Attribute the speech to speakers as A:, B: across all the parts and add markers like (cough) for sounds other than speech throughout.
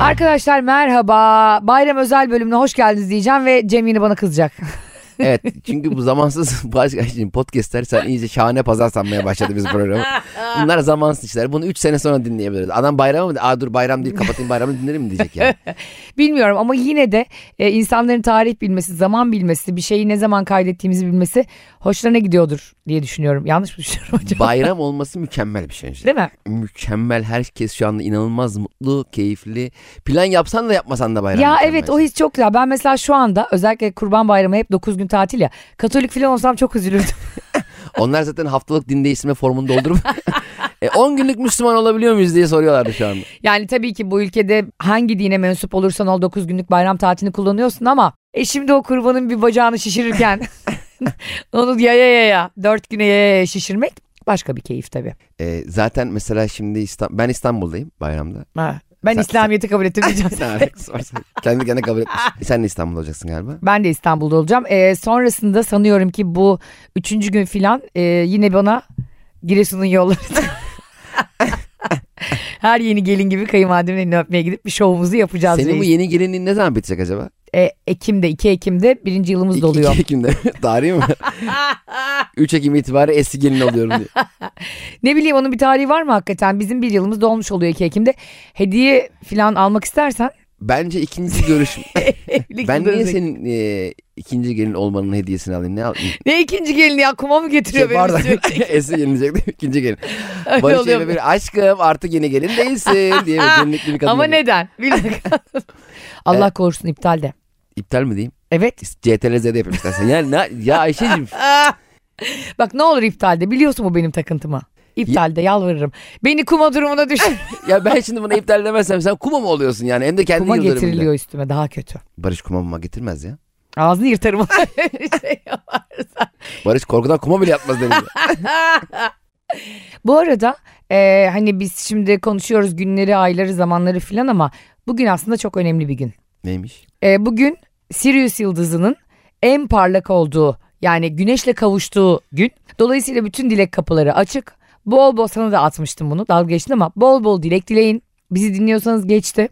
A: Arkadaşlar merhaba. Bayram özel bölümüne hoş geldiniz diyeceğim ve Cem yine bana kızacak. (laughs)
B: Evet çünkü bu zamansız (laughs) başka şimdi podcastler sen iyice şahane pazar sanmaya başladı biz programı.
A: (laughs)
B: Bunlar zamansız işler. Bunu 3 sene sonra dinleyebiliriz. Adam bayram mı? Aa dur bayram değil kapatayım bayramı dinlerim mi
A: (laughs)
B: diyecek yani.
A: Bilmiyorum ama yine de e, insanların tarih bilmesi, zaman bilmesi, bir şeyi ne zaman kaydettiğimizi bilmesi hoşlarına gidiyordur diye düşünüyorum. Yanlış mı düşünüyorum acaba?
B: Bayram olması mükemmel bir şey. öncelikle.
A: Değil mi?
B: Mükemmel herkes şu anda inanılmaz mutlu, keyifli. Plan yapsan da yapmasan da bayram.
A: ya
B: mükemmel.
A: evet o his çok güzel. Ben mesela şu anda özellikle Kurban Bayramı hep 9 gün tatil ya. Katolik falan olsam çok üzülürdüm.
B: Onlar zaten haftalık din değiştirme formunu doldurup (laughs) E, 10 günlük Müslüman olabiliyor muyuz diye soruyorlardı şu anda.
A: yani tabii ki bu ülkede hangi dine mensup olursan ol 9 günlük bayram tatilini kullanıyorsun ama e şimdi o kurbanın bir bacağını şişirirken (laughs) onu ya ya ya ya 4 güne ya ya ya şişirmek başka bir keyif tabii.
B: E, zaten mesela şimdi İstan- ben İstanbul'dayım bayramda.
A: Ben
B: Sen-
A: İslamiyet'i kabul ettim
B: (laughs)
A: diyeceğim.
B: Ne alakası var? Sen Kendi kendine
A: (laughs)
B: kabul etmiş. Sen de İstanbul'da olacaksın galiba.
A: Ben de İstanbul'da olacağım. Ee, sonrasında sanıyorum ki bu üçüncü gün filan e, yine bana Giresun'un yolları.
B: (laughs)
A: Her yeni gelin gibi kayınvalidemin elini öpmeye gidip bir şovumuzu yapacağız.
B: Senin bu
A: reis.
B: yeni gelinliğin ne zaman bitecek acaba?
A: E, Ekim'de 2 Ekim'de birinci yılımız
B: İki-
A: doluyor.
B: iki Ekim'de. (laughs)
A: (laughs)
B: Tarihi mi? 3 Ekim itibariyle eski gelin oluyorum diye.
A: Ne bileyim onun bir tarihi var mı hakikaten? Bizim bir yılımız dolmuş oluyor 2 Ekim'de. Hediye filan almak istersen.
B: Bence ikinci görüş.
A: (laughs) evlilik
B: ben niye
A: yıldızı-
B: senin e, ikinci gelin olmanın hediyesini alayım? Ne alayım?
A: Ne ikinci gelini ya kuma mı getiriyor
B: Şey,
A: benim
B: pardon. (laughs)
A: üstüme?
B: eski gelinecek değil mi? (laughs) İkinci gelin.
A: (laughs) Öyle
B: Barış
A: oluyor
B: Bey'le bir aşkım artık yeni gelin değilsin
A: (laughs)
B: diye bir gelinlikli bir kadın.
A: Ama
B: geliyor. (laughs)
A: neden? Bir dakika. Allah korusun iptal de.
B: İptal mi diyeyim?
A: Evet.
B: CTRZ'de yapayım istersen. Ya, ne, ya Ayşe'cim
A: Bak ne olur iptalde. Biliyorsun bu benim takıntımı. İptalde yalvarırım. Beni kuma durumuna
B: (laughs)
A: düşür.
B: ya ben şimdi buna iptal demezsem sen kuma mı oluyorsun yani? Hem de kendi
A: kuma
B: yıldönümünde.
A: getiriliyor üstüme daha kötü.
B: Barış kuma mı getirmez ya.
A: Ağzını yırtarım. (laughs) Bir şey yaparsa.
B: Barış korkudan kuma bile yapmaz
A: (laughs)
B: dedi.
A: bu arada e, hani biz şimdi konuşuyoruz günleri, ayları, zamanları filan ama bugün aslında çok önemli bir gün.
B: Neymiş?
A: E, bugün Sirius yıldızının en parlak olduğu yani güneşle kavuştuğu gün. Dolayısıyla bütün dilek kapıları açık. Bol bol sana da atmıştım bunu dalga geçtim ama bol bol dilek dileyin. Bizi dinliyorsanız geçti.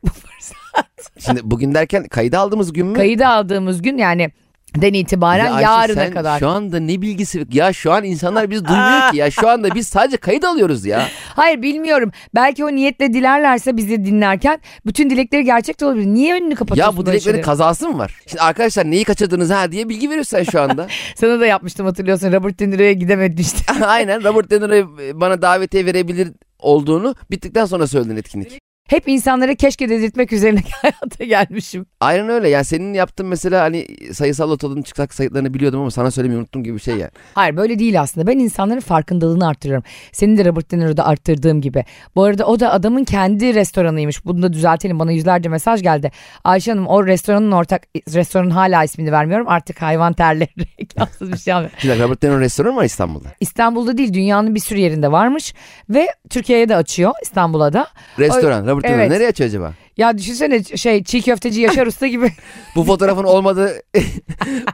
B: Şimdi bugün derken kayda aldığımız gün mü?
A: Kayıda aldığımız gün yani den itibaren
B: Ya Ayşe,
A: yarına
B: sen
A: kadar.
B: Şu anda ne bilgisi ya şu an insanlar bizi duymuyor ki ya şu anda biz sadece kayıt
A: (laughs)
B: alıyoruz ya.
A: Hayır bilmiyorum. Belki o niyetle dilerlerse bizi dinlerken bütün dilekleri gerçek de olabilir. Niye önünü kapatıyorsun?
B: ya bu
A: böyle
B: dileklerin
A: şeyleri?
B: kazası mı var? Şimdi arkadaşlar neyi kaçırdınız ha diye bilgi veriyorsun sen şu
A: (laughs)
B: anda. (laughs)
A: Sana da yapmıştım hatırlıyorsun. Robert De Niro'ya gidemedin işte. (laughs)
B: Aynen Robert De Niro'ya bana davetiye verebilir olduğunu bittikten sonra söyledin etkinlik.
A: Hep insanlara keşke dedirtmek üzerine (laughs) hayata gelmişim.
B: Aynen öyle yani senin yaptığın mesela hani sayısal lotoların çıksak sayıtlarını biliyordum ama sana söylemeyi unuttum gibi bir şey yani.
A: Hayır böyle değil aslında. Ben insanların farkındalığını arttırıyorum. Senin de Robert De Niro'da arttırdığım gibi. Bu arada o da adamın kendi restoranıymış. Bunu da düzeltelim. Bana yüzlerce mesaj geldi. Ayşe Hanım o restoranın ortak restoranın hala ismini vermiyorum. Artık hayvan terleri (laughs) reklamsız bir şey yapmıyorum.
B: Şimdi Robert De Niro restoranı var İstanbul'da.
A: İstanbul'da değil dünyanın bir sürü yerinde varmış ve Türkiye'ye de açıyor İstanbul'a da.
B: Restoran Robert De Niro
A: evet.
B: nereye açıyor acaba?
A: Ya düşünsene şey çiğ köfteci Yaşar Usta gibi. (laughs)
B: Bu fotoğrafın olmadığı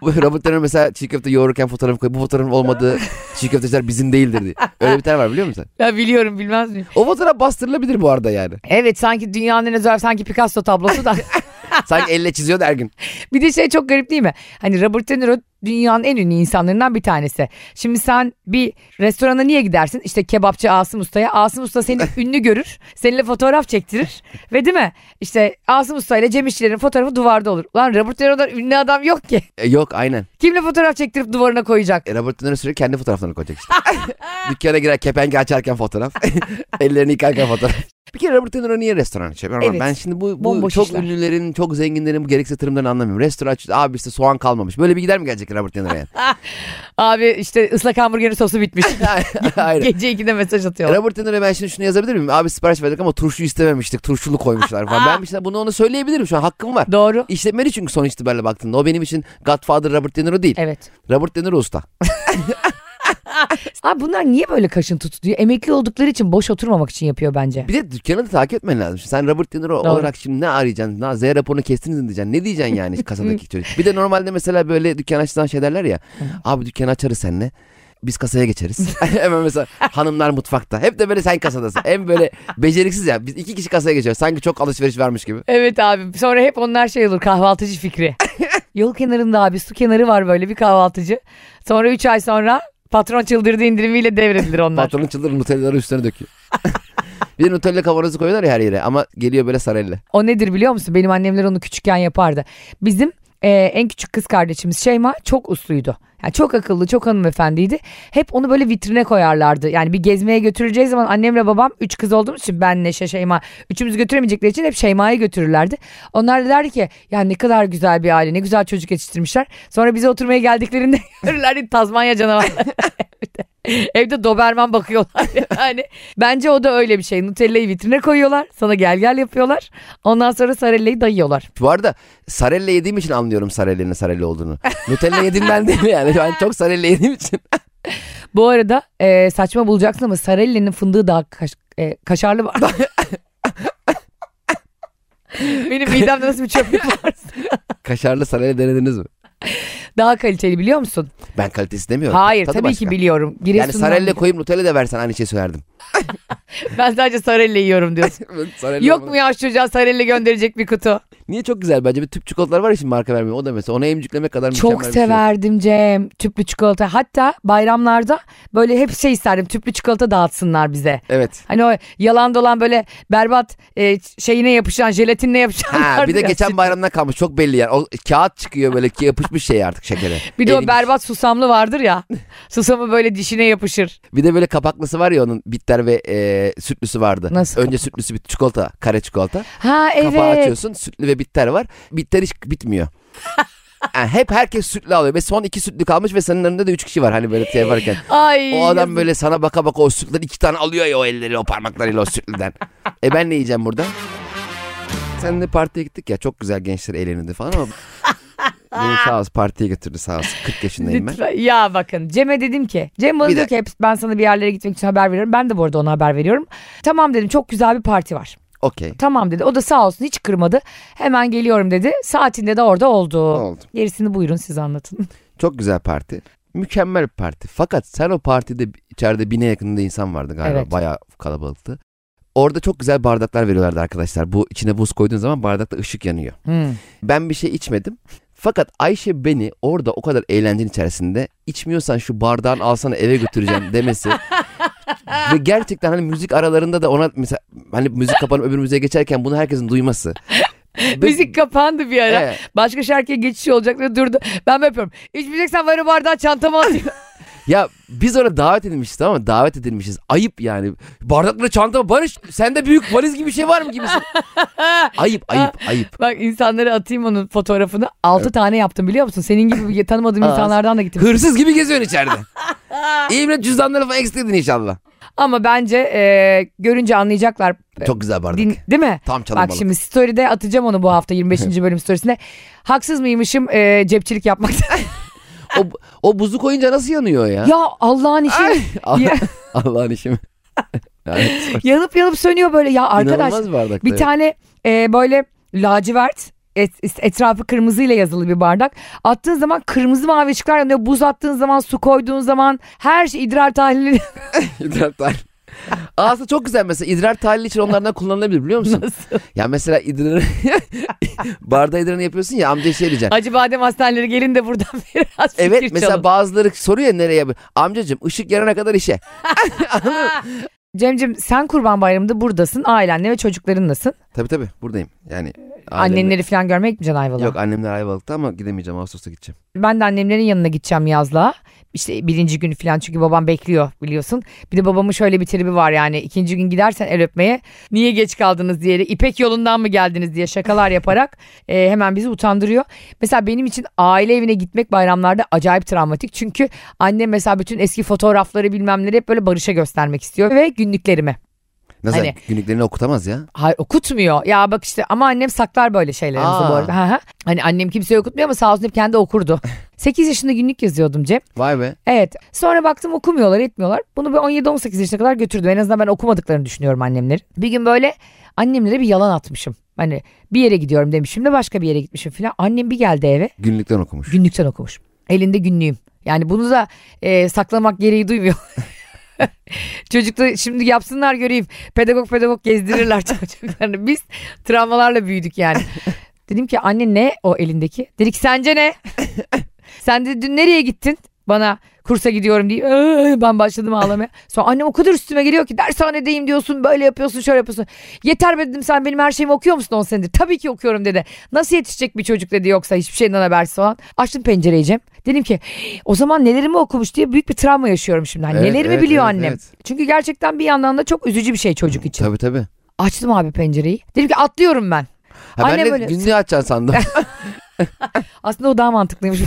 B: bu Robert De Niro mesela çiğ köfte yoğururken fotoğrafı koyup bu fotoğrafın olmadığı çiğ köfteciler bizim değildir diye. Öyle bir tane var biliyor musun?
A: ya biliyorum bilmez miyim?
B: O fotoğraf bastırılabilir bu arada yani.
A: Evet sanki dünyanın en özel sanki Picasso tablosu da.
B: Sanki elle çiziyordu her gün.
A: bir de şey çok garip değil mi? Hani Robert De Niro dünyanın en ünlü insanlarından bir tanesi. Şimdi sen bir restorana niye gidersin? İşte kebapçı Asım Usta'ya. Asım Usta seni ünlü görür. Seninle fotoğraf çektirir. Ve değil mi? İşte Asım Usta ile Cem İşçilerin fotoğrafı duvarda olur. Lan Robert De Niro'dan ünlü adam yok ki.
B: E, yok aynen.
A: Kimle fotoğraf çektirip duvarına koyacak?
B: E, Robert De Niro sürekli kendi fotoğraflarını
A: (laughs)
B: koyacak işte. Dükkana girer kepengi açarken fotoğraf. (laughs) Ellerini yıkarken fotoğraf. Bir kere Robert De Niro niye restoran açıyor? Ben,
A: Evet.
B: ben şimdi bu, bu
A: Bomboş
B: çok
A: işler.
B: ünlülerin, çok zenginlerin bu gereksiz tırımlarını anlamıyorum. Restoran açıyor. Abi işte soğan kalmamış. Böyle bir gider mi gelecek Robert
A: (laughs)
B: De Niro'ya?
A: Abi işte ıslak hamburgerin sosu bitmiş.
B: (laughs) Aynen.
A: Gece 2'de mesaj atıyor.
B: Robert De Niro'ya ben şimdi şunu yazabilir miyim? Abi sipariş verdik ama turşu istememiştik. Turşulu koymuşlar falan. ben işte bunu ona söyleyebilirim şu an. Hakkım var.
A: Doğru.
B: İşletmeli çünkü son itibariyle baktığında. O benim için Godfather Robert De Niro değil.
A: Evet.
B: Robert De Niro usta.
A: Abi bunlar niye böyle kaşıntı tutuyor? Emekli oldukları için boş oturmamak için yapıyor bence.
B: Bir de dükkanı da takip etmen lazım. Şimdi Sen Robert De Niro
A: Doğru.
B: olarak şimdi ne arayacaksın? Ne, Z raporunu kestiniz mi diyeceksin? Ne
A: (laughs)
B: diyeceksin yani kasadaki çocuk? Bir de normalde mesela böyle dükkan açtığı zaman şey derler ya. abi dükkanı açarız seninle. biz kasaya geçeriz. (laughs) Hemen mesela hanımlar mutfakta. Hep de böyle sen kasadasın. En böyle beceriksiz ya. Biz iki kişi kasaya geçiyoruz. Sanki çok alışveriş vermiş gibi.
A: Evet abi sonra hep onlar şey olur kahvaltıcı fikri. Yol kenarında abi su kenarı var böyle bir kahvaltıcı. Sonra 3 ay sonra patron çıldırdı indirimiyle devredilir onlar.
B: Patronun çıldırır nutellaları
A: (laughs)
B: üstüne döküyor. bir de nutella kavanozu koyuyorlar ya her yere ama geliyor böyle sarelle.
A: o nedir biliyor musun? Benim annemler onu küçükken yapardı. Bizim e, en küçük kız kardeşimiz Şeyma çok usluydu. Yani çok akıllı, çok hanımefendiydi. Hep onu böyle vitrine koyarlardı. Yani bir gezmeye götüreceği zaman annemle babam üç kız olduğumuz için ben Neşe Şeyma üçümüz götüremeyecekleri için hep Şeyma'yı götürürlerdi. Onlar da derdi ki ya ne kadar güzel bir aile, ne güzel çocuk yetiştirmişler. Sonra bize oturmaya geldiklerinde (laughs) görürlerdi Tazmanya (laughs) canavarları. Evde Doberman bakıyorlar (laughs) yani. Bence o da öyle bir şey. Nutella'yı vitrine koyuyorlar. Sana gel gel yapıyorlar. Ondan sonra sarelleyi dayıyorlar.
B: Bu arada sarelle yediğim için anlıyorum sarellenin sarelle olduğunu. Nutella yediğimden değil mi yani?
A: (laughs)
B: Ben çok sarelle yediğim için.
A: Bu arada e, saçma bulacaksın ama sarellenin fındığı daha kaş- e, kaşarlı (laughs) var. Benim midemde nasıl bir çöplük var.
B: Kaşarlı sarelle denediniz mi?
A: (laughs) Daha kaliteli biliyor musun?
B: Ben kalitesi demiyorum.
A: Hayır
B: Tadı
A: tabii
B: başka.
A: ki biliyorum.
B: Yani
A: Giresun'dan (laughs)
B: sarelle
A: biliyorum.
B: koyup Nutella da versen aynı şeyi söylerdim.
A: Ben sadece sarelle yiyorum
B: (laughs)
A: diyorsun. (laughs)
B: Sarelle
A: Yok
B: olmadı.
A: mu ya şu çocuğa sarelle gönderecek bir kutu?
B: Niye çok güzel bence bir tüp çikolatalar var ya şimdi marka vermiyor. O da mesela onu emcüklemek kadar mükemmel
A: Çok
B: bir şey.
A: severdim Cem tüplü çikolata. Hatta bayramlarda böyle hep şey isterdim tüplü çikolata dağıtsınlar bize.
B: Evet.
A: Hani o yalan dolan böyle berbat e, şeyine yapışan, jelatinle yapışan.
B: Ha, bir de geçen
A: bayram.
B: bayramdan kalmış çok belli yani. O kağıt çıkıyor böyle ki yapışmış şey artık şekere.
A: Bir de o
B: Erimiş.
A: berbat susamlı vardır
B: (laughs)
A: ya. Susamı böyle dişine yapışır.
B: Bir de böyle kapaklısı var ya onun bitter ve e, sütlüsü vardı.
A: Nasıl
B: Önce sütlüsü bir çikolata, kare çikolata.
A: Ha evet.
B: Kapağı açıyorsun, sütlü ve bitter var. Bitter hiç
A: (laughs)
B: bitmiyor. Yani hep herkes sütlü alıyor ve son iki sütlü kalmış ve senin önünde de üç kişi var hani böyle şey varken.
A: Ay.
B: O
A: yazık.
B: adam böyle sana baka baka o sütlüden iki tane alıyor ya o elleri o parmaklarıyla o sütlüden. e ben ne yiyeceğim burada? Seninle partiye gittik ya çok güzel gençler eğlenildi
A: (laughs)
B: falan ama beni sağ olsun partiye götürdü sağ olsun 40 yaşındayım ben.
A: Lütfen. Ya bakın Cem'e dedim ki Cem bana
B: Bir
A: diyor ki hep ben sana bir yerlere gitmek için haber veriyorum. Ben de bu arada ona haber veriyorum. Tamam dedim çok güzel bir parti var.
B: Okey
A: Tamam dedi. O da sağ olsun hiç kırmadı. Hemen geliyorum dedi. Saatinde de orada oldu.
B: oldu.
A: Gerisini buyurun siz anlatın.
B: Çok güzel parti. Mükemmel bir parti. Fakat sen o partide bi- içeride bine yakınında insan vardı galiba.
A: Evet.
B: Bayağı kalabalıktı. Orada çok güzel bardaklar veriyorlardı arkadaşlar. Bu içine buz koyduğun zaman bardakta ışık yanıyor.
A: Hmm.
B: Ben bir şey içmedim. Fakat Ayşe beni orada o kadar eğlencenin içerisinde içmiyorsan şu bardağını alsana eve
A: (laughs)
B: götüreceğim demesi. Ve gerçekten hani müzik aralarında da ona mesela hani müzik kapanıp öbür müziğe geçerken bunu herkesin duyması. Ve-
A: (laughs) Müzik kapandı bir ara.
B: Evet.
A: Başka şarkıya geçiş olacak diye durdu. Ben böyle yapıyorum. İçmeyeceksen varı bardağı çantama
B: (laughs)
A: atayım.
B: Ya biz orada davet edilmişiz ama davet edilmişiz. Ayıp yani. Bardakla çanta Barış sende büyük valiz gibi bir şey var mı
A: (laughs)
B: gibisin. ayıp ayıp ayıp.
A: Bak insanlara atayım onun fotoğrafını. 6 tane yaptım biliyor musun? Senin gibi bir- tanımadığım
B: (laughs) Aa,
A: insanlardan da gittim.
B: Hırsız gibi
A: (laughs)
B: geziyorsun içeride. İyi bile cüzdanları falan ekstredin inşallah.
A: Ama bence e, görünce anlayacaklar.
B: Çok güzel bardak.
A: Din- değil mi?
B: Tam
A: Bak
B: çalınmalı.
A: şimdi story'de atacağım onu bu hafta
B: (laughs)
A: 25. bölüm storiesinde. Haksız mıymışım e, cepçilik yapmakta?
B: O, o buzu koyunca nasıl yanıyor ya?
A: (laughs) ya Allah'ın işi.
B: (laughs)
A: (laughs)
B: Allah- (laughs)
A: Ya-
B: Allah'ın işi mi? (laughs) Evet.
A: yanıp yanıp sönüyor böyle. Ya arkadaş
B: İnanılmaz bardak.
A: Bir
B: (laughs)
A: tane e, böyle lacivert et- etrafı kırmızıyla yazılı bir bardak. Attığın zaman kırmızı mavi ışıklar yanıyor. Buz attığın zaman, su koyduğun zaman her şey idrar tahlili. (laughs)
B: idrar tahlili. Aslında çok güzel mesela idrar tahlili için onlardan kullanılabilir biliyor musun? Ya mesela idrarı (laughs) bardağı idrarını yapıyorsun ya amca şey diyecek.
A: Acı badem hastaneleri gelin de buradan (laughs) biraz fikir
B: Evet mesela
A: çalın.
B: bazıları soruyor nereye. Amcacığım ışık yanana kadar işe.
A: Cemcim sen kurban bayramında buradasın. Ailenle ve çocuklarınlasın.
B: Tabii tabii buradayım. Yani ailemle-
A: Annenleri falan görmeye gitmeyeceksin Ayvalık'a.
B: Yok annemler Ayvalık'ta ama gidemeyeceğim Ağustos'ta gideceğim.
A: Ben de annemlerin yanına gideceğim yazlığa. İşte birinci günü falan çünkü babam bekliyor biliyorsun. Bir de babamın şöyle bir tribi var yani ikinci gün gidersen el öpmeye niye geç kaldınız diye İpek yolundan mı geldiniz diye şakalar yaparak e, hemen bizi utandırıyor. Mesela benim için aile evine gitmek bayramlarda acayip travmatik. Çünkü annem mesela bütün eski fotoğrafları bilmemleri hep böyle Barış'a göstermek istiyor ve günlüklerimi.
B: Nasıl
A: Hani-
B: günlüklerini okutamaz ya.
A: Hayır okutmuyor. Ya bak işte ama annem saklar böyle şeylerimizi
B: Aa.
A: bu arada. Hı hı. hani annem kimseye okutmuyor ama sağ olsun hep kendi okurdu. 8 yaşında günlük yazıyordum Cem.
B: Vay be.
A: Evet. Sonra baktım okumuyorlar etmiyorlar. Bunu ben 17-18 yaşına kadar götürdüm. En azından ben okumadıklarını düşünüyorum annemlerin. Bir gün böyle annemlere bir yalan atmışım. Hani bir yere gidiyorum demişim de başka bir yere gitmişim falan. Annem bir geldi eve
B: Günlükten okumuş.
A: günlükten okumuş. Elinde günlüğüm. Yani bunu da e, saklamak gereği duymuyor. (laughs) Çocuklar şimdi yapsınlar göreyim. Pedagog pedagog gezdirirler (laughs) çocuklarını. Biz travmalarla büyüdük
B: (laughs)
A: yani. Dedim ki anne ne o elindeki? Dedi ki sence
B: (laughs)
A: ne? Sen de dün nereye gittin? Bana kursa gidiyorum diye "Ee," ben başladım ağlamaya. Sonra annem o kadar üstüme geliyor ki dershanedeyim diyorsun böyle yapıyorsun şöyle yapıyorsun. Yeter be dedim sen benim her şeyimi okuyor musun 10 senedir? Tabii ki okuyorum dedi. Nasıl yetişecek bir çocuk dedi yoksa hiçbir şeyden habersiz falan. Açtım pencereyi Cem. Dedim ki o zaman nelerimi okumuş diye büyük bir travma yaşıyorum şimdi. Hani
B: Evet,
A: nelerimi
B: evet,
A: biliyor
B: evet,
A: annem.
B: evet.
A: Çünkü gerçekten bir yandan da çok üzücü bir şey çocuk için.
B: Tabii tabii.
A: Açtım abi pencereyi. Dedim ki atlıyorum ben.
B: Ha,
A: Anne
B: ben de
A: böyle-
B: günlüğü
A: (laughs)
B: açacaksın sandım.
A: Aslında o daha
B: (laughs)
A: mantıklıymış.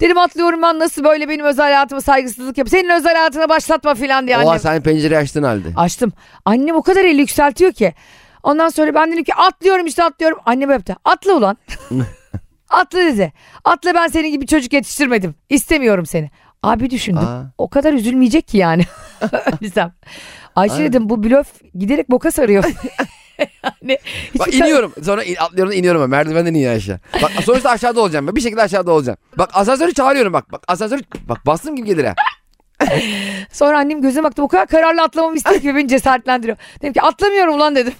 A: Dedim atlıyorum ben nasıl böyle benim özel hayatıma saygısızlık yap. Senin özel hayatına başlatma filan diye annem.
B: Oha sen pencereyi açtın halde.
A: Açtım. Annem o kadar eli yükseltiyor ki. Ondan sonra ben dedim ki atlıyorum işte atlıyorum. Annem öptü. Atla
B: (laughs)
A: ulan. Atla dedi. Atla ben senin gibi çocuk yetiştirmedim. İstemiyorum seni. Abi düşündüm.
B: Aa.
A: O kadar üzülmeyecek ki
B: (laughs)
A: yani. Ölsem. Ayşe
B: Aynen.
A: dedim bu blöf giderek boka
B: (laughs)
A: sarıyor. yani hiçbir
B: Bak
A: şey-
B: iniyorum. Sonra in- atlıyorum da iniyorum. ben. Merdivenden iniyor aşağı. Bak sonuçta aşağıda olacağım. Ben bir şekilde aşağıda olacağım. Bak asansörü çağırıyorum bak. Bak asansörü bak bastım gibi gelir ha.
A: Sonra annem gözüme baktı o kadar kararlı atlamamı istiyor ki beni cesaretlendiriyor. Dedim ki atlamıyorum ulan dedim.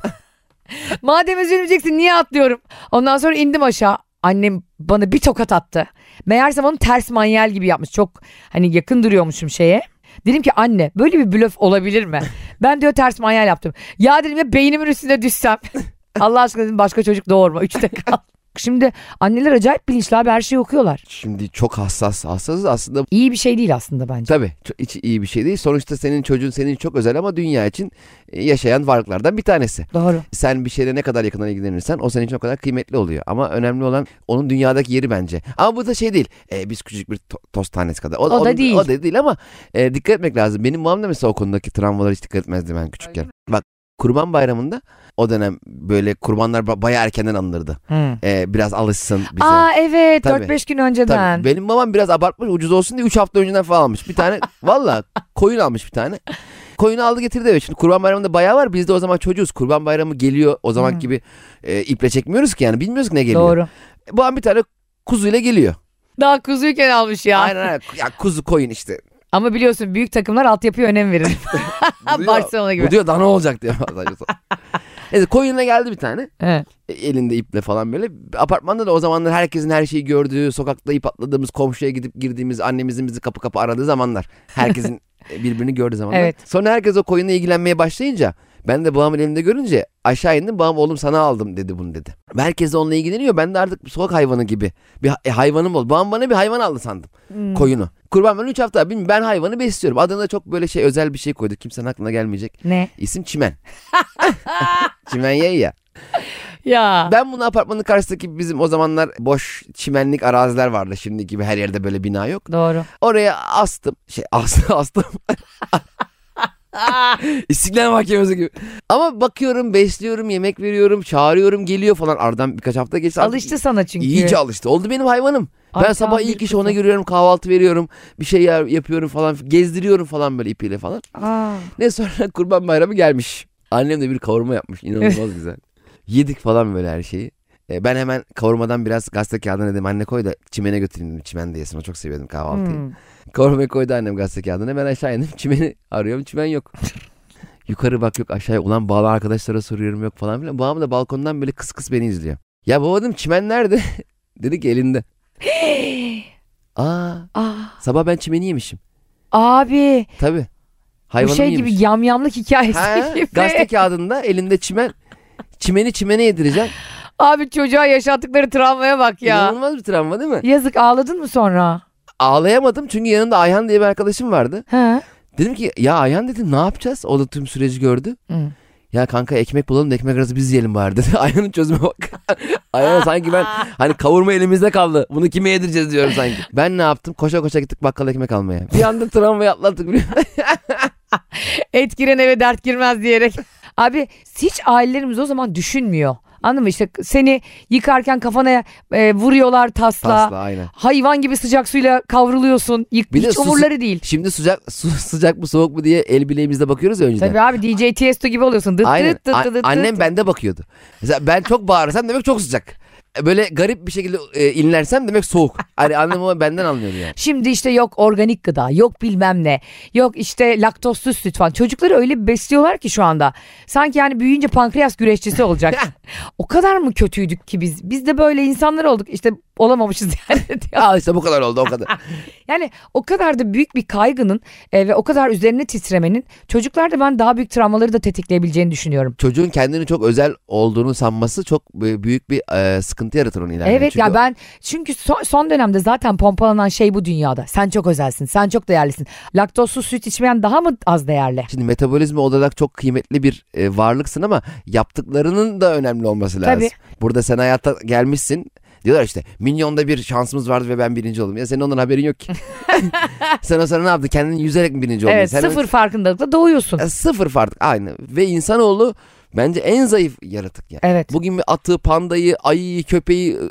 A: (laughs) Madem üzülmeyeceksin niye atlıyorum? Ondan sonra indim aşağı. Annem bana bir tokat attı. Meğersem onu ters manyel gibi yapmış. Çok hani yakın duruyormuşum şeye. Dedim ki anne böyle bir blöf olabilir mi? (laughs) Ben diyor ters manyel yaptım. Ya dedim ya beynimin üstüne düşsem. (laughs) Allah aşkına dedim başka çocuk doğurma. (laughs) Üçte kal. Şimdi anneler acayip bilinçli abi her şeyi okuyorlar.
B: Şimdi çok hassas. Hassasız aslında
A: İyi bir şey değil aslında bence.
B: tabii çok- hiç iyi bir şey değil. Sonuçta senin çocuğun senin çok özel ama dünya için e, yaşayan varlıklardan bir tanesi.
A: Doğru.
B: Sen bir şeyle ne kadar yakından ilgilenirsen o senin için o kadar kıymetli oluyor. Ama önemli olan onun dünyadaki yeri bence. Ama bu da şey değil. E, biz küçük bir to- toz tanesi kadar.
A: O da
B: onun-
A: değil.
B: O da değil ama e, dikkat etmek lazım. Benim babam da mesela o konudaki travmalara hiç dikkat etmezdi ben küçükken. Bak Kurban Bayramı'nda o dönem böyle kurbanlar ba- bayağı erkenden alınırdı.
A: Hı.
B: E, biraz alışsın bize.
A: Aa evet
B: Tabii.
A: 4-5 gün
B: Tabii.
A: önceden.
B: Benim babam biraz abartmış ucuz olsun diye 3 hafta önceden falan almış.
A: (laughs)
B: Bir tane valla koyun almış bir tane. Koyunu aldı getirdi eve. Şimdi kurban bayramında bayağı var. Biz de o zaman çocuğuz. Kurban bayramı geliyor. O zaman
A: Hmm.
B: gibi e, iple çekmiyoruz ki yani. Bilmiyoruz ki ne geliyor.
A: Doğru.
B: Babam bir tane kuzuyla geliyor.
A: Daha kuzuyken almış ya.
B: Aynen aynen. Ya kuzu
A: (laughs)
B: koyun işte.
A: Ama biliyorsun büyük takımlar altyapıya önem
B: (laughs)
A: verir.
B: Bu diyor-
A: Barcelona gibi.
B: Bu diyor daha ne olacak diyor. (laughs) Neyse koyunla geldi bir tane.
A: He.
B: E, elinde iple falan böyle. Apartmanda da o zamanlar herkesin her şeyi gördüğü, sokakta ip atladığımız, komşuya gidip girdiğimiz, annemizin bizi kapı kapı aradığı zamanlar.
A: (laughs)
B: Herkesin e, birbirini gördüğü zamanlar.
A: Evet.
B: Sonra herkes o koyunla ilgilenmeye başlayınca ben de babamın elinde görünce aşağı indim. Babam oğlum sana aldım dedi bunu dedi. Herkes de onunla ilgileniyor. Ben de artık bir sokak hayvanı gibi bir ha- e, hayvanım oldu. Babam bana bir hayvan aldı sandım.
A: Hmm.
B: Koyunu. Kurban ben 3 hafta bilmiyorum ben hayvanı besliyorum. Adına çok böyle şey özel bir şey koyduk. Kimsenin aklına gelmeyecek.
A: Ne?
B: İsim Çimen.
A: (laughs)
B: (laughs) Çimen ye ya.
A: Ya.
B: Ben bunu apartmanın karşısındaki bizim o zamanlar boş çimenlik araziler vardı. Şimdi gibi her yerde böyle bina yok.
A: Doğru.
B: Oraya astım. Şey (laughs) astım astım.
A: Ah.
B: İstiklal Mahkemesi gibi. Ama bakıyorum besliyorum yemek veriyorum çağırıyorum geliyor falan. Aradan birkaç hafta geçti. Artık
A: Alıştı sana çünkü.
B: İyice alıştı. Oldu benim hayvanım.
A: Ay,
B: ben
A: tam
B: sabah
A: bir
B: ilk iş
A: kuzu.
B: ona giriyorum kahvaltı veriyorum. Bir şey yer- yapıyorum falan. Gezdiriyorum falan böyle ipiyle falan.
A: Aa.
B: Ne sonra (laughs) kurban bayramı gelmiş. Annem de bir kavurma
A: (laughs)
B: yapmış. İnanılmaz güzel. Yedik falan böyle her şeyi. E, ben hemen kavurmadan biraz gazete kağıdına dedim. Anne koy da çimene götüreyim dedim. Çimen de yesin. O çok seviyordum kahvaltıyı.
A: Hmm.
B: Kavurmayı koydu annem gazete kağıdına. Ben aşağı indim. (laughs) Çimeni arıyorum. Çimen yok.
A: (laughs)
B: Yukarı bak yok aşağıya. Ulan bağlı arkadaşlara soruyorum yok falan filan. Babam da balkondan böyle kıs kıs beni izliyor. Ya baba dedim çimen nerede? (laughs) dedi ki elinde. Aa
A: Aa.
B: sabah ben çimeni yemişim.
A: Ah, Abi
B: Tabii.
A: bu
B: Hayvanımı
A: şey
B: yemişim.
A: gibi yamyamlık hikayesi
B: Ha,
A: Şey gibi.
B: gazete kağıdında elinde çimen. Çimeni çimene yedireceğim.
A: (laughs) Abi çocuğa yaşattıkları travmaya bak (laughs) ya.
B: İnanılmaz bir travma değil mi?
A: Yazık ağladın mı sonra?
B: Ağlayamadım çünkü yanımda Ayhan diye bir arkadaşım vardı.
A: He.
B: Dedim ki ya Ayhan dedi ne yapacağız? O da tüm süreci gördü.
A: Hı.
B: Ya kanka ekmek bulalım da ekmek arası biz yiyelim bari (laughs) dedi. Ayhan'ın çözüme bak. (laughs) Ayhan sanki ben hani kavurma elimizde kaldı. Bunu kime yedireceğiz diyorum
A: (laughs)
B: sanki. Ben ne yaptım? Koşa koşa gittik bakkala ekmek almaya. Bir anda travmayı atlattık. biliyor musun?
A: Et giren eve dert girmez diyerek. (laughs) Abi hiç ailelerimiz o zaman düşünmüyor. Anladın mı? İşte seni yıkarken kafana e, vuruyorlar tasla.
B: Tasla aynen.
A: Hayvan gibi sıcak suyla kavruluyorsun. Yık,
B: Bir de
A: hiç
B: su-
A: umurları değil.
B: Şimdi sıcak su, sıcak mı soğuk mu diye el bileğimizde bakıyoruz ya önceden.
A: Tabii abi DJ Tiesto gibi oluyorsun. Dıt
B: Aynen.
A: dıt dıt
B: A-
A: dıt dıt.
B: annem bende bakıyordu. Mesela ben çok bağırsam demek çok sıcak. böyle garip bir şekilde e, inlersem demek soğuk. Hani annem baba benden
A: (laughs)
B: anlıyordu yani.
A: Şimdi işte yok organik gıda, yok bilmem ne, yok işte laktozsuz süt falan. Çocukları öyle besliyorlar ki şu anda. Sanki yani büyüyünce pankreas güreşçisi olacak.
B: (laughs)
A: o kadar mı kötüydük ki biz? Biz de böyle insanlar olduk. İşte olamamışız (laughs) yani.
B: Al işte bu kadar oldu o kadar.
A: Yani o kadar da büyük bir kaygının e, ve o kadar üzerine titremenin çocuklarda ben daha büyük travmaları da tetikleyebileceğini düşünüyorum.
B: Çocuğun kendini çok özel olduğunu sanması çok b- büyük bir e, sıkıntı yaratır onun ileride.
A: evet
B: Çünkü
A: ya ben çünkü son, son dönemde zaten pompalanan şey bu dünyada. Sen çok özelsin, sen çok değerlisin. Laktozsuz süt içmeyen daha mı az değerli?
B: Şimdi metabolizma olarak çok kıymetli bir e, varlıksın ama yaptıklarının da önemli olması lazım.
A: Tabii.
B: Burada sen hayata gelmişsin. Diyorlar işte milyonda bir şansımız vardı ve ben birinci oldum. Ya senin ondan haberin
A: (laughs)
B: yok ki. (laughs) sen o sana ne yaptın? Kendini yüzerek mi birinci oldun?
A: Evet
B: Sen-
A: sıfır farkındalıkla doğuyorsun.
B: Ya E, sıfır fark. Aynı. Ve insanoğlu bence en zayıf yaratık yani.
A: Evet.
B: Bugün bir atı, pandayı, ayıyı, köpeği e,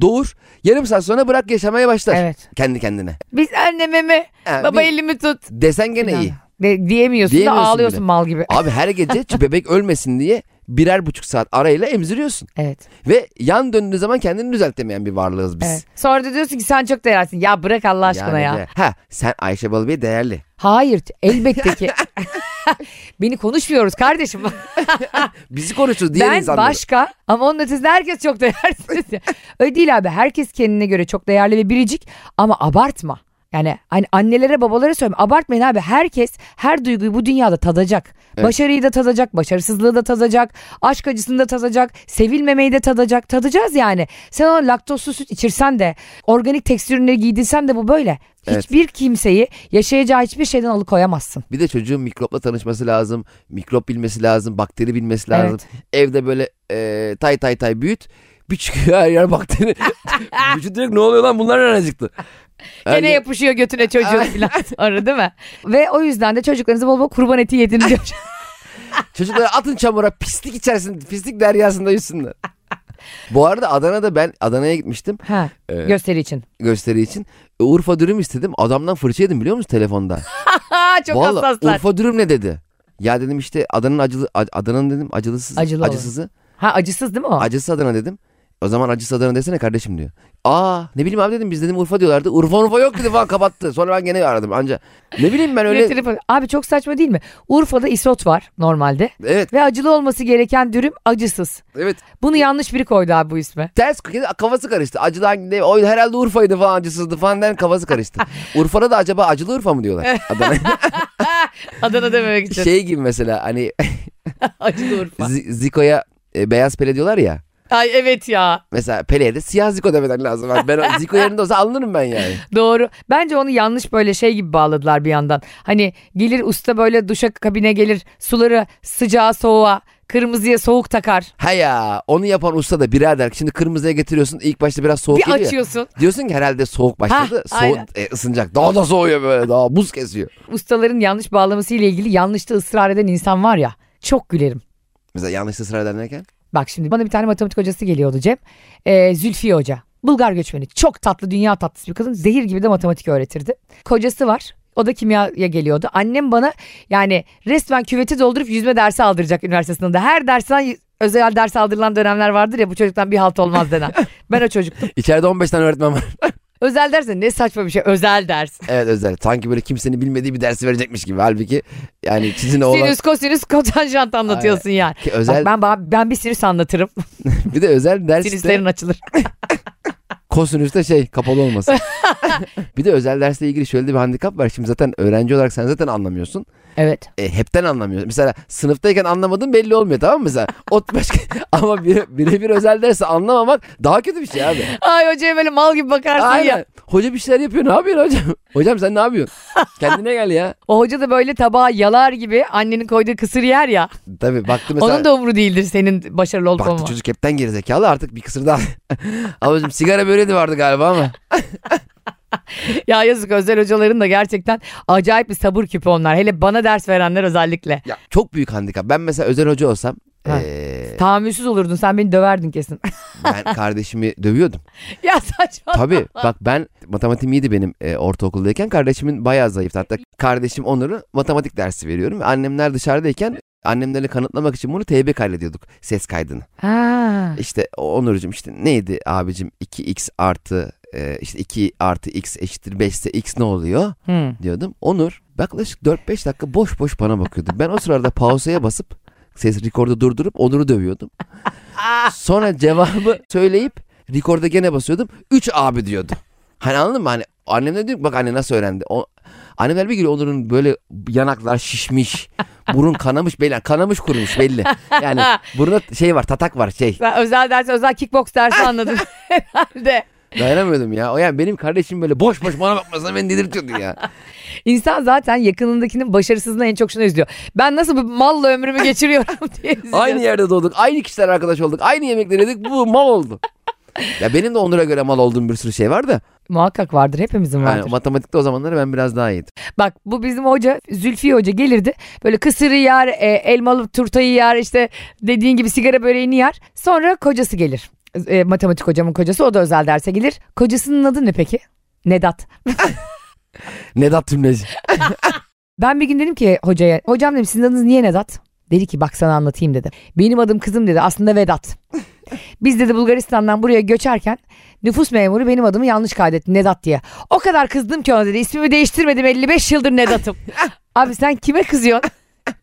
B: doğur. Yarım saat sonra bırak yaşamaya başlar.
A: Evet.
B: Kendi kendine.
A: Biz anneme mi?
B: Ha,
A: Baba
B: bir-
A: elimi tut.
B: Desen gene
A: Falan.
B: iyi.
A: De- diyemiyorsun,
B: Diyemiyorsun
A: da ağlıyorsun
B: bile.
A: mal gibi.
B: Abi her gece ç- bebek ölmesin diye birer buçuk saat arayla emziriyorsun.
A: Evet.
B: Ve yan döndüğü zaman kendini düzeltemeyen bir varlığız biz.
A: evet. Sonra da diyorsun ki sen çok değerlisin. Ya bırak Allah aşkına ya.
B: de- Ha sen Ayşe Balıbey değerli.
A: Hayır elbette ki. (laughs) Beni konuşmuyoruz kardeşim.
B: Bizi konuşuyoruz diğer
A: ben
B: insanları.
A: başka ama onun ötesinde herkes çok değersiz. ya. Öyle değil abi. Herkes kendine göre çok değerli ve biricik ama abartma. Yani hani annelere babalara söylüyorum abartmayın abi herkes her duyguyu bu dünyada tadacak. Başarıyı da tadacak, başarısızlığı da tadacak, aşk acısını da tadacak, sevilmemeyi de tadacak. Tadacağız yani. Sen ona laktozsuz süt içirsen de, organik tekstür ürünleri giydirsen de bu böyle.
B: Evet.
A: Hiçbir kimseyi yaşayacağı hiçbir şeyden alıkoyamazsın.
B: Bir de çocuğun mikropla tanışması lazım. Mikrop bilmesi lazım. Bakteri bilmesi lazım. Evde böyle e, tay tay tay büyüt. Bir çıkıyor her
A: (laughs)
B: yer bakteri. Vücut direkt ne oluyor lan bunlar nereden çıktı?
A: Gene
B: Yani-
A: yapışıyor götüne çocuğun (laughs) filan sonra değil mi? Ve o yüzden de çocuklarınızı bol bol kurban eti yedin diyor.
B: Çocukları atın çamura pislik içerisinde pislik
A: (laughs)
B: deryasında yüzsünler. Bu arada Adana'da ben Adana'ya gitmiştim
A: ha,
B: Evet.
A: gösteri için.
B: gösteri için. E, Urfa dürüm istedim. Adamdan fırça yedim biliyor musun telefonda?
A: Ha, (laughs) (laughs) çok
B: Vallahi
A: hassaslar.
B: Urfa dürüm ne dedi? Ya dedim işte Adana'nın acılı ac- Adana'nın dedim acılısız
A: Acılı olan.
B: acısızı.
A: Ha acısız değil mi o?
B: Acısı Adana dedim. O zaman acısı Adana desene kardeşim diyor. Aa ne bileyim abi dedim biz dedim Urfa diyorlardı. Urfa Urfa yok dedi falan kapattı. Sonra ben gene aradım anca. Ne bileyim ben
A: Öyle
B: öyle.
A: telefon- Abi çok saçma değil mi? Urfa'da isot var normalde.
B: evet
A: Ve acılı olması gereken dürüm acısız.
B: evet.
A: Bunu yanlış biri koydu abi bu ismi.
B: Ters kedi kafası karıştı. Acılı hangi o herhalde Urfa'ydı falan acısızdı falan den
A: (laughs)
B: kafası karıştı. Urfa'da da acaba acılı Urfa mı diyorlar? Adana
A: Adana dememek için.
B: şey gibi mesela hani
A: (laughs) acılı Urfa.
B: Z- Zico'ya e, beyaz pele diyorlar ya.
A: Ay evet ya.
B: Mesela Pele'ye de siyah Zico demeden lazım.
A: (laughs)
B: Ben o- Zico yerinde olsa alınırım ben yani.
A: Doğru. Bence onu yanlış böyle şey gibi bağladılar bir yandan. Hani gelir usta böyle duşa kabine gelir suları sıcağa soğuğa kırmızıya soğuk takar.
B: Ha ya onu yapan usta da birader şimdi kırmızıya getiriyorsun ilk başta biraz soğuk
A: bir
B: geliyor ya.
A: açıyorsun.
B: Diyorsun ki herhalde soğuk başladı.
A: Hah,
B: soğuk
A: aynen.
B: e, ısınacak. Daha da soğuyor böyle. Daha buz kesiyor.
A: Ustaların yanlış bağlaması ile ilgili yanlışta ısrar eden insan var ya. Çok gülerim.
B: Mesela yanlış ısrar eden derken.
A: Bak şimdi bana bir tane matematik hocası geliyordu Cem. Ee, Zülfiye Hoca. Bulgar göçmeni. Çok tatlı, dünya tatlısı bir kadın. Zehir gibi de matematik öğretirdi. Kocası var. O da kimyaya geliyordu. Annem bana yani resmen küveti doldurup yüzme dersi aldıracak üniversite sınavında. Her dersten y- özel ders aldırılan dönemler vardır ya bu çocuktan bir halt olmaz denen. ben o çocuktum.
B: (laughs) İçeride 15 tane öğretmen var.
A: Özel ders de ne saçma bir şey. Özel ders.
B: evet özel. Sanki böyle kimsenin bilmediği bir dersi verecekmiş gibi. Halbuki yani sizin oğlan.
A: Sinüs, kosinüs, kotanjant anlatıyorsun yani.
B: Ki özel,
A: Bak ben, ben bir sinüs anlatırım.
B: bir de özel derste
A: Sinüslerin açılır.
B: kosinüste şey kapalı (laughs) olmasın. bir de özel dersle ilgili şöyle de bir handikap var. Şimdi zaten öğrenci olarak sen zaten anlamıyorsun.
A: Evet.
B: E, hepten anlamıyorsun. Mesela sınıftayken anlamadın belli olmuyor tamam mı mesela? Ot başka (laughs) ama bire- birebir özel dersi anlamamak daha kötü bir şey abi.
A: Ay hocaya böyle mal gibi bakarsın ya.
B: Aynen. Hoca bir şeyler yapıyor. Ne yapıyorsun hocam? (laughs) Hocam sen
A: (laughs)
B: ne yapıyorsun? Kendine gel ya.
A: O hoca da böyle tabağa yalar gibi annenin koyduğu kısır yer ya.
B: Tabii baktı mesela.
A: Onun da umru değildir senin başarılı olup
B: Baktı
A: olmaman.
B: çocuk hepten gerizekalı artık bir kısır daha. (laughs) Abicim sigara böreği de vardı galiba
A: (laughs)
B: ama.
A: Ya yazık özel hocaların da gerçekten acayip bir sabır küpü onlar. Hele bana ders verenler özellikle.
B: Ya, çok büyük handikap. Ben mesela özel hoca olsam
A: Ha.
B: eee,
A: Tahammülsüz olurdun sen beni döverdin kesin. (laughs)
B: ben kardeşimi dövüyordum.
A: ya saçma. (laughs)
B: Tabii bak ben matematiğim iyiydi benim eee, ortaokuldayken. Kardeşimin bayağı zayıftı. Hatta kardeşim Onur'u matematik dersi veriyorum. Annemler dışarıdayken Annemlerle kanıtlamak için bunu TB kaydediyorduk ses kaydını.
A: Ha.
B: İşte Onurcuğum işte neydi abicim 2x artı e, işte 2 artı x eşittir 5 ise x ne oluyor
A: Hı.
B: diyordum. Onur yaklaşık 4-5 dakika boş boş bana bakıyordu. Ben o sırada pause'ya basıp ses rekordu durdurup Onur'u dövüyordum. Sonra cevabı söyleyip rekorda gene basıyordum. 3 abi diyordu. Hani anladın mı? Hani annem de diyor ki, bak anne nasıl öğrendi. O, annemler bir geliyor Onur'un böyle yanaklar şişmiş. Burun kanamış belli. Kanamış kurumuş belli. Yani burunda şey var tatak var şey.
A: Ben özel ders, özel kickbox dersi
B: (laughs)
A: anladım herhalde.
B: Dayanamıyordum ya. O yani benim kardeşim böyle boş boş bana bakmasına beni delirtiyordu ya.
A: İnsan zaten yakınındakinin başarısızlığına en çok şunu üzülüyor. Ben nasıl bir malla ömrümü geçiriyorum (laughs) diye üzülüyor.
B: Aynı yerde doğduk. Aynı kişiler arkadaş olduk. Aynı yemekleri yedik. Bu mal oldu. Ya benim de Onur'a göre mal olduğum bir sürü şey var da.
A: Muhakkak vardır hepimizin vardır.
B: Yani matematikte o zamanlar ben biraz daha iyiydim.
A: Bak bu bizim hoca Zülfiye Hoca gelirdi. Böyle kısırı yer, e, elmalı turtayı yer, işte dediğin gibi sigara böreğini yer. Sonra kocası gelir. E, matematik hocamın kocası o da özel derse gelir. Kocasının adı ne peki? Nedat.
B: Nedat Tümleci.
A: Ben bir gün dedim ki hocaya, hocam dedim sizin adınız niye Nedat? Dedi ki bak sana anlatayım dedi. Benim adım kızım dedi aslında Vedat. Biz dedi Bulgaristan'dan buraya göçerken nüfus memuru benim adımı yanlış kaydetti Nedat diye. O kadar kızdım ki ona dedi ismimi değiştirmedim 55 yıldır Nedat'ım. Abi sen kime kızıyorsun?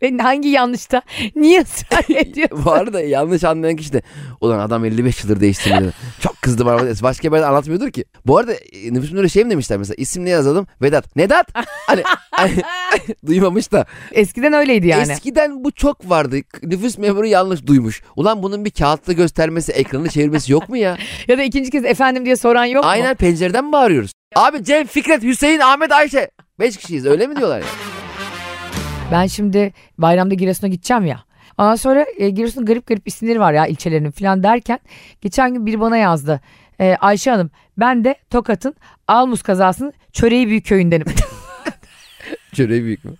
A: Ben hangi yanlışta? Niye ısrar ediyorsun?
B: Bu arada yanlış anlayan kişi de ulan adam 55 yıldır değiştirmedi. Çok kızdı bana. Başka bir yerde anlatmıyordur ki. Bu arada e, nüfus müdürü şey mi demişler mesela isim ne yazalım? Vedat. Nedat. Hani, hani (laughs) duymamış da.
A: Eskiden öyleydi yani.
B: Eskiden bu çok vardı. K- Nüfus memuru yanlış duymuş. Ulan bunun bir kağıtta göstermesi, ekranı çevirmesi yok mu ya?
A: Ya da ikinci kez efendim diye soran yok mu?
B: Aynen pencereden mi bağırıyoruz? Abi Cem, Fikret, Hüseyin, Ahmet, Ayşe. Beş kişiyiz öyle mi diyorlar ya?
A: Ben şimdi bayramda Giresun'a gideceğim ya. Ondan sonra e, Giresun'un garip garip isimleri var ya ilçelerinin falan derken geçen gün biri bana yazdı. E, Ayşe Hanım ben de Tokat'ın Almus kazasının Çöreği Büyük köyündenim. (laughs)
B: Çöre büyük mü?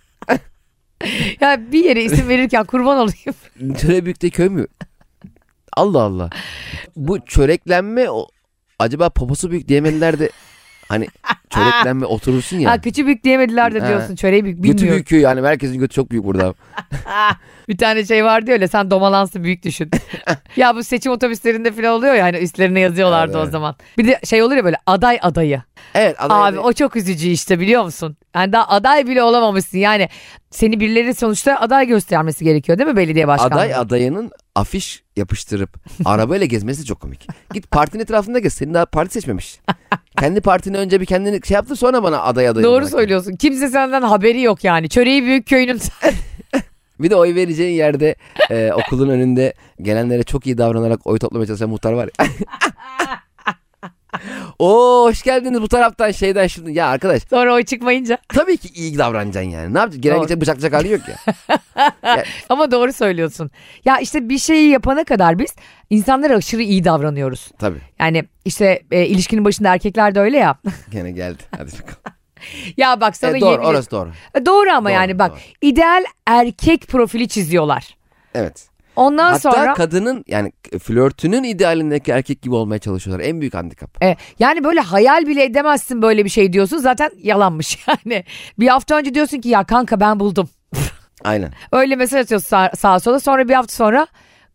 A: ya bir yere isim verirken kurban olayım.
B: Çöre büyükte köy mü? Allah Allah. Bu çöreklenme o, acaba poposu büyük diyemediler de hani çöreklenme oturursun ya.
A: Ha küçük büyük diyemediler de
B: Ha.
A: diyorsun Çöreği Büyük
B: Götü
A: bilmiyorum.
B: büyük köy yani herkesin götü çok büyük burada.
A: Bir tane şey vardı öyle sen domalansı büyük
B: (laughs)
A: düşün. ya bu seçim otobüslerinde falan oluyor ya hani üstlerine yazıyorlardı
B: Evet,
A: o
B: evet.
A: zaman. Bir de şey olur ya böyle aday adayı.
B: Evet. Adana'ya
A: Abi
B: da-
A: o çok üzücü işte biliyor musun? Yani daha aday bile olamamışsın. Yani seni birileri sonuçta aday göstermesi gerekiyor değil mi belediye başkanlığı?
B: Aday adayının afiş
A: (laughs)
B: yapıştırıp arabayla gezmesi çok komik. Git partinin etrafında gez. Senin daha
A: (laughs)
B: parti seçmemiş. Kendi partini önce bir kendini şey yaptı sonra bana aday adayı.
A: Doğru
B: olarak.
A: söylüyorsun. Kimse senden haberi yok yani. Çöreği büyük köyünün (laughs)
B: Bir de oy vereceğin yerde e, okulun önünde gelenlere çok iyi davranarak oy toplamaya çalışan muhtar var
A: (laughs)
B: ya. Oo hoş geldiniz bu taraftan şeyden şimdi. Ya arkadaş
A: sonra oy çıkmayınca.
B: tabii ki iyi davranacaksın yani. Ne yapacaksın? Gelen
A: Doğru.
B: geçen bıçaklayacak hali yok ya.
A: Ama doğru söylüyorsun. Ya işte bir şeyi yapana kadar biz insanlara aşırı iyi davranıyoruz.
B: Tabii.
A: Yani işte e, ilişkinin başında erkekler de öyle ya. (laughs)
B: Gene geldi. Hadi bakalım.
A: ya bak sana
B: E, doğru
A: yemin-
B: orası doğru.
A: E, doğru ama
B: Doğru,
A: yani bak
B: doğru.
A: ideal erkek profili çiziyorlar.
B: Evet.
A: Ondan
B: Hatta
A: sonra
B: kadının yani flörtünün idealindeki erkek gibi olmaya çalışıyorlar. En büyük handikap.
A: E, yani böyle hayal bile edemezsin böyle bir şey diyorsun zaten yalanmış (laughs) yani. Bir hafta önce diyorsun ki ya kanka ben buldum.
B: Aynen.
A: Öyle mesaj atıyorsun sağ, sağa sola sonra bir hafta sonra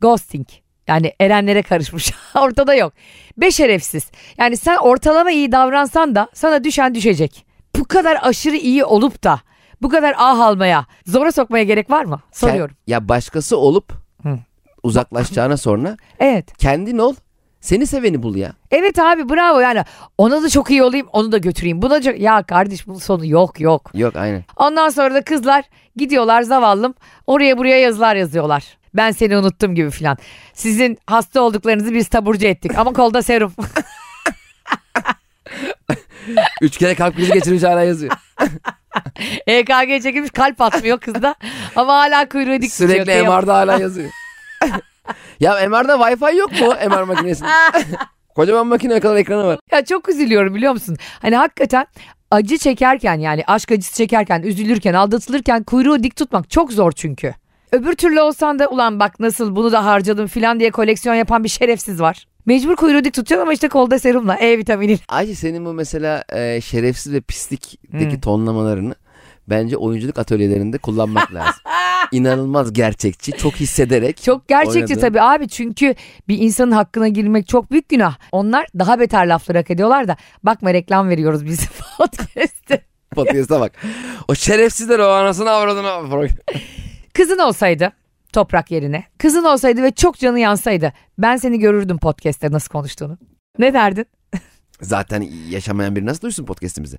A: ghosting. Yani erenlere karışmış (laughs) ortada yok. Ve şerefsiz. Yani sen ortalama iyi davransan da sana düşen düşecek. Bu kadar aşırı iyi olup da bu kadar ah almaya zora sokmaya gerek var mı? Soruyorum.
B: Ke- Ya başkası olup
A: Hı.
B: uzaklaşacağına sonra
A: Evet.
B: kendin ol. Seni seveni bul ya.
A: Evet abi bravo yani ona da çok iyi olayım onu da götüreyim. Buna çok... Ya kardeş bunun sonu yok yok.
B: Yok aynen.
A: Ondan sonra da kızlar gidiyorlar zavallım oraya buraya yazılar yazıyorlar. Ben seni unuttum gibi filan. Sizin hasta olduklarınızı biz taburcu ettik ama kolda serum. (laughs)
B: Üç kere kalp krizi geçirmiş hala yazıyor.
A: (laughs) EKG E çekilmiş kalp atmıyor kızda ama hala kuyruğu dik tutuyor.
B: Sürekli
A: Kıyamam.
B: MR'da hala yazıyor. (laughs) ya MR'da Wi-Fi yok mu
A: (laughs)
B: MR makinesinde? Kocaman makine kadar ekranı var.
A: Ya çok üzülüyorum biliyor musun? Hani hakikaten acı çekerken yani aşk acısı çekerken, üzülürken, aldatılırken kuyruğu dik tutmak çok zor çünkü. Öbür türlü olsan da ulan bak nasıl bunu da harcadım filan diye koleksiyon yapan bir şerefsiz var. Mecbur kuyruğu dik tutacaksın ama işte kolda serumla E vitamini.
B: Ayşe senin bu mesela e, şerefsiz ve pislikteki
A: Hmm. (laughs)
B: tonlamalarını bence oyunculuk atölyelerinde kullanmak lazım. inanılmaz gerçekçi. Çok hissederek.
A: Çok gerçekçi
B: Oynadı. (laughs)
A: tabii abi çünkü bir insanın hakkına girmek çok büyük günah. Onlar daha beter laflar hak ediyorlar da bakma reklam veriyoruz biz (laughs) podcast'te.
B: Podcast'a bak. O şerefsizler o anasını avradını.
A: Kızın olsaydı toprak yerine. Kızın olsaydı ve çok canı yansaydı ben seni görürdüm podcast'te nasıl konuştuğunu. Ne derdin? (laughs)
B: Zaten yaşamayan biri nasıl duysun podcast'imizi?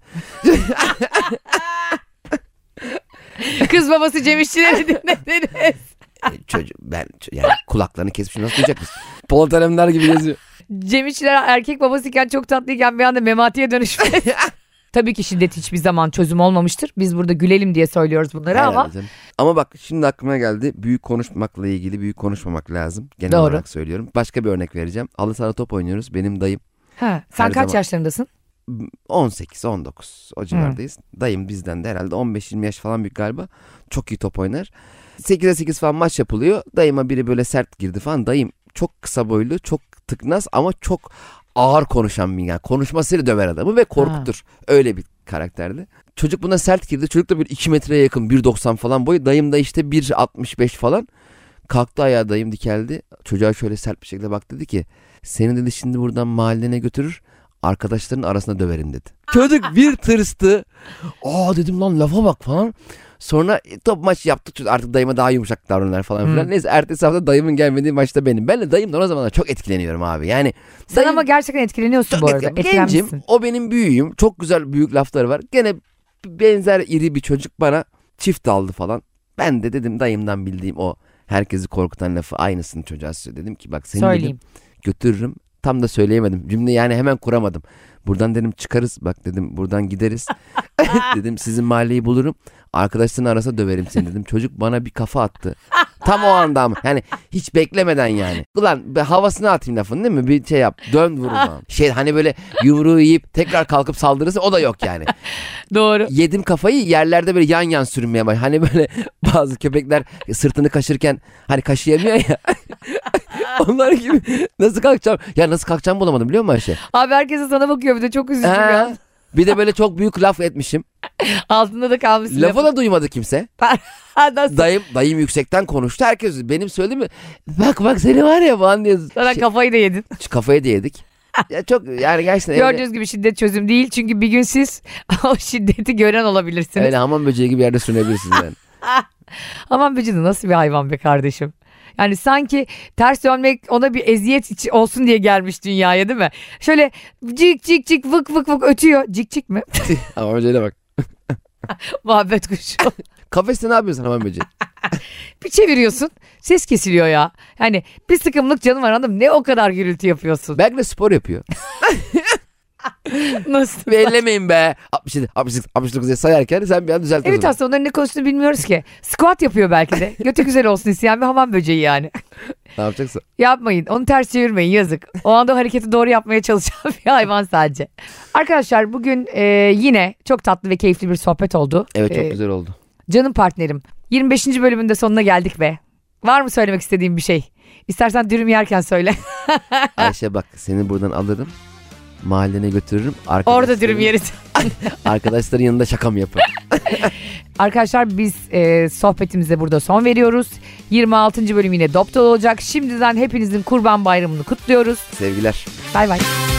A: Kız babası Cem
B: (laughs)
A: İşçileri dinlediniz.
B: E, Çocuk ben yani kulaklarını kesmişim nasıl duyacak mısın? Polat Alemdar gibi yazıyor.
A: Cem İşçiler erkek babasıyken çok tatlıyken bir anda mematiye
B: (laughs)
A: dönüşmez. Tabii ki şiddet hiçbir zaman çözüm olmamıştır. Biz burada gülelim diye söylüyoruz bunları ama
B: Herhalde canım. Ama bak şimdi aklıma geldi. Büyük konuşmakla ilgili büyük konuşmamak lazım. Genel
A: Doğru.
B: olarak söylüyorum. Başka bir örnek vereceğim. Halı saha top oynuyoruz. Benim dayım
A: ha, sen
B: Her
A: kaç
B: zaman.
A: yaşlarındasın?
B: 18-19 o civardayız. Dayım bizden de herhalde 15-20 yaş falan büyük galiba. Çok iyi top oynar. 8'e 8 falan maç yapılıyor. Dayıma biri böyle sert girdi falan. Dayım çok kısa boylu, çok tıknaz ama çok ağır konuşan bir yani. Konuşmasıyla döver adamı ve korkutur. Öyle bir karakterdi. Çocuk buna sert girdi. Çocuk da bir 2 metreye yakın 1.90 falan boyu. Dayım da işte 1.65 falan. Kalktı ayağa dayım dikeldi. Çocuğa şöyle sert bir şekilde bak dedi ki seni dedi şimdi buradan mahallene götürür arkadaşların arasında
A: (laughs)
B: döverim dedi. Çocuk bir tırstı. Aa dedim lan lafa bak falan. Sonra e, top maç yaptık Çocuk artık dayıma daha yumuşak davranırlar falan filan.
A: Hı.
B: Neyse ertesi hafta dayımın gelmediği maçta benim. Ben de dayımdan o zamanlar çok etkileniyorum abi. Yani
A: Sen
B: dayım-
A: ama gerçekten etkileniyorsun bu arada.
B: Gencim,
A: Etkilenmişsin.
B: o benim büyüğüm. Çok güzel büyük lafları var. Gene benzer iri bir çocuk bana çift aldı falan. Ben de dedim dayımdan bildiğim o herkesi korkutan lafı aynısını çocuğa söylüyor. Dedim ki bak seni dedim
A: Söyleyeyim.
B: götürürüm. Tam da söyleyemedim. Cümle yani hemen kuramadım. Buradan dedim çıkarız. Bak dedim buradan gideriz. (laughs) dedim sizin mahalleyi bulurum. Arkadaşların arasında döverim seni dedim. Çocuk bana bir kafa attı. Tam o anda ama. Yani hiç beklemeden yani. Ulan be, havasını atayım lafın değil mi? Bir şey yap. Dön vurun lan. Şey hani böyle yumruğu yiyip tekrar kalkıp saldırırsa o da yok yani.
A: Doğru.
B: Yedim kafayı yerlerde böyle yan yan sürünmeye bak. Hani böyle (laughs) bazı köpekler sırtını kaşırken hani kaşıyamıyor ya. (laughs) Onlar gibi (laughs) nasıl kalkacağım? Ya nasıl kalkacağımı bulamadım biliyor musun Ayşe?
A: Abi herkese sana bakıyor bir de çok üzücü
B: Ha.
A: ya.
B: Bir de böyle çok büyük laf etmişim.
A: Altında da kalmışsın.
B: Lafı da duymadı kimse.
A: Ha, nasıl?
B: Dayım dayım yüksekten konuştu. Herkes benim söylediğimi bak bak seni var ya falan diye
A: Sana
B: şey,
A: kafayı da yedin.
B: kafaya değdik. Ya çok yani gerçekten öyle,
A: Gördüğünüz gibi şiddet çözüm değil. Çünkü bir gün siz (laughs) o şiddeti gören olabilirsiniz.
B: öyle hamam böceği gibi yerde sürünebilirsiniz yani.
A: Aman böcü de nasıl bir hayvan be kardeşim. Yani sanki ters dönmek ona bir eziyet içi- olsun diye gelmiş dünyaya değil mi? Şöyle cik cik cik vık vık vık ötüyor. Cik cik mi? (laughs)
B: hamam böceğine bak.
A: Muhabbet kuşu.
B: Kafeste ne yapıyorsun hamam böceği?
A: bir çeviriyorsun ses kesiliyor ya. Yani bir sıkımlık canım var hanım ne o kadar gürültü
B: (laughs)
A: yapıyorsun.
B: Belki de spor yapıyor.
A: Nasıl?
B: Bir ellemeyin be. 67, 68, 69 diye sayarken sen bir an düzeltiyorsun.
A: Evet aslında onların ne konuştuğunu bilmiyoruz ki. Squat yapıyor belki
B: (laughs)
A: de. Götü güzel olsun isteyen bir hamam böceği yani.
B: Ne yapacaksın?
A: Yapmayın. Onu ters çevirmeyin. Yazık. O anda o hareketi doğru yapmaya çalışan bir hayvan sadece. Arkadaşlar bugün e, yine çok tatlı ve keyifli bir sohbet oldu.
B: Evet çok
A: E,
B: güzel oldu.
A: Canım partnerim. 25. bölümünde sonuna geldik be. Var mı söylemek istediğim bir şey? İstersen dürüm yerken söyle. (laughs)
B: Ayşe bak seni buradan alırım. Mahallene götürürüm.
A: Orada
B: Arkadaşların-
A: dürüm yeriz.
B: (laughs) Arkadaşların yanında şakam yapar.
A: Arkadaşlar biz e, sohbetimize burada son veriyoruz. 26. bölüm yine dop dolu olacak. Şimdiden hepinizin kurban bayramını kutluyoruz.
B: Sevgiler.
A: Bay bay.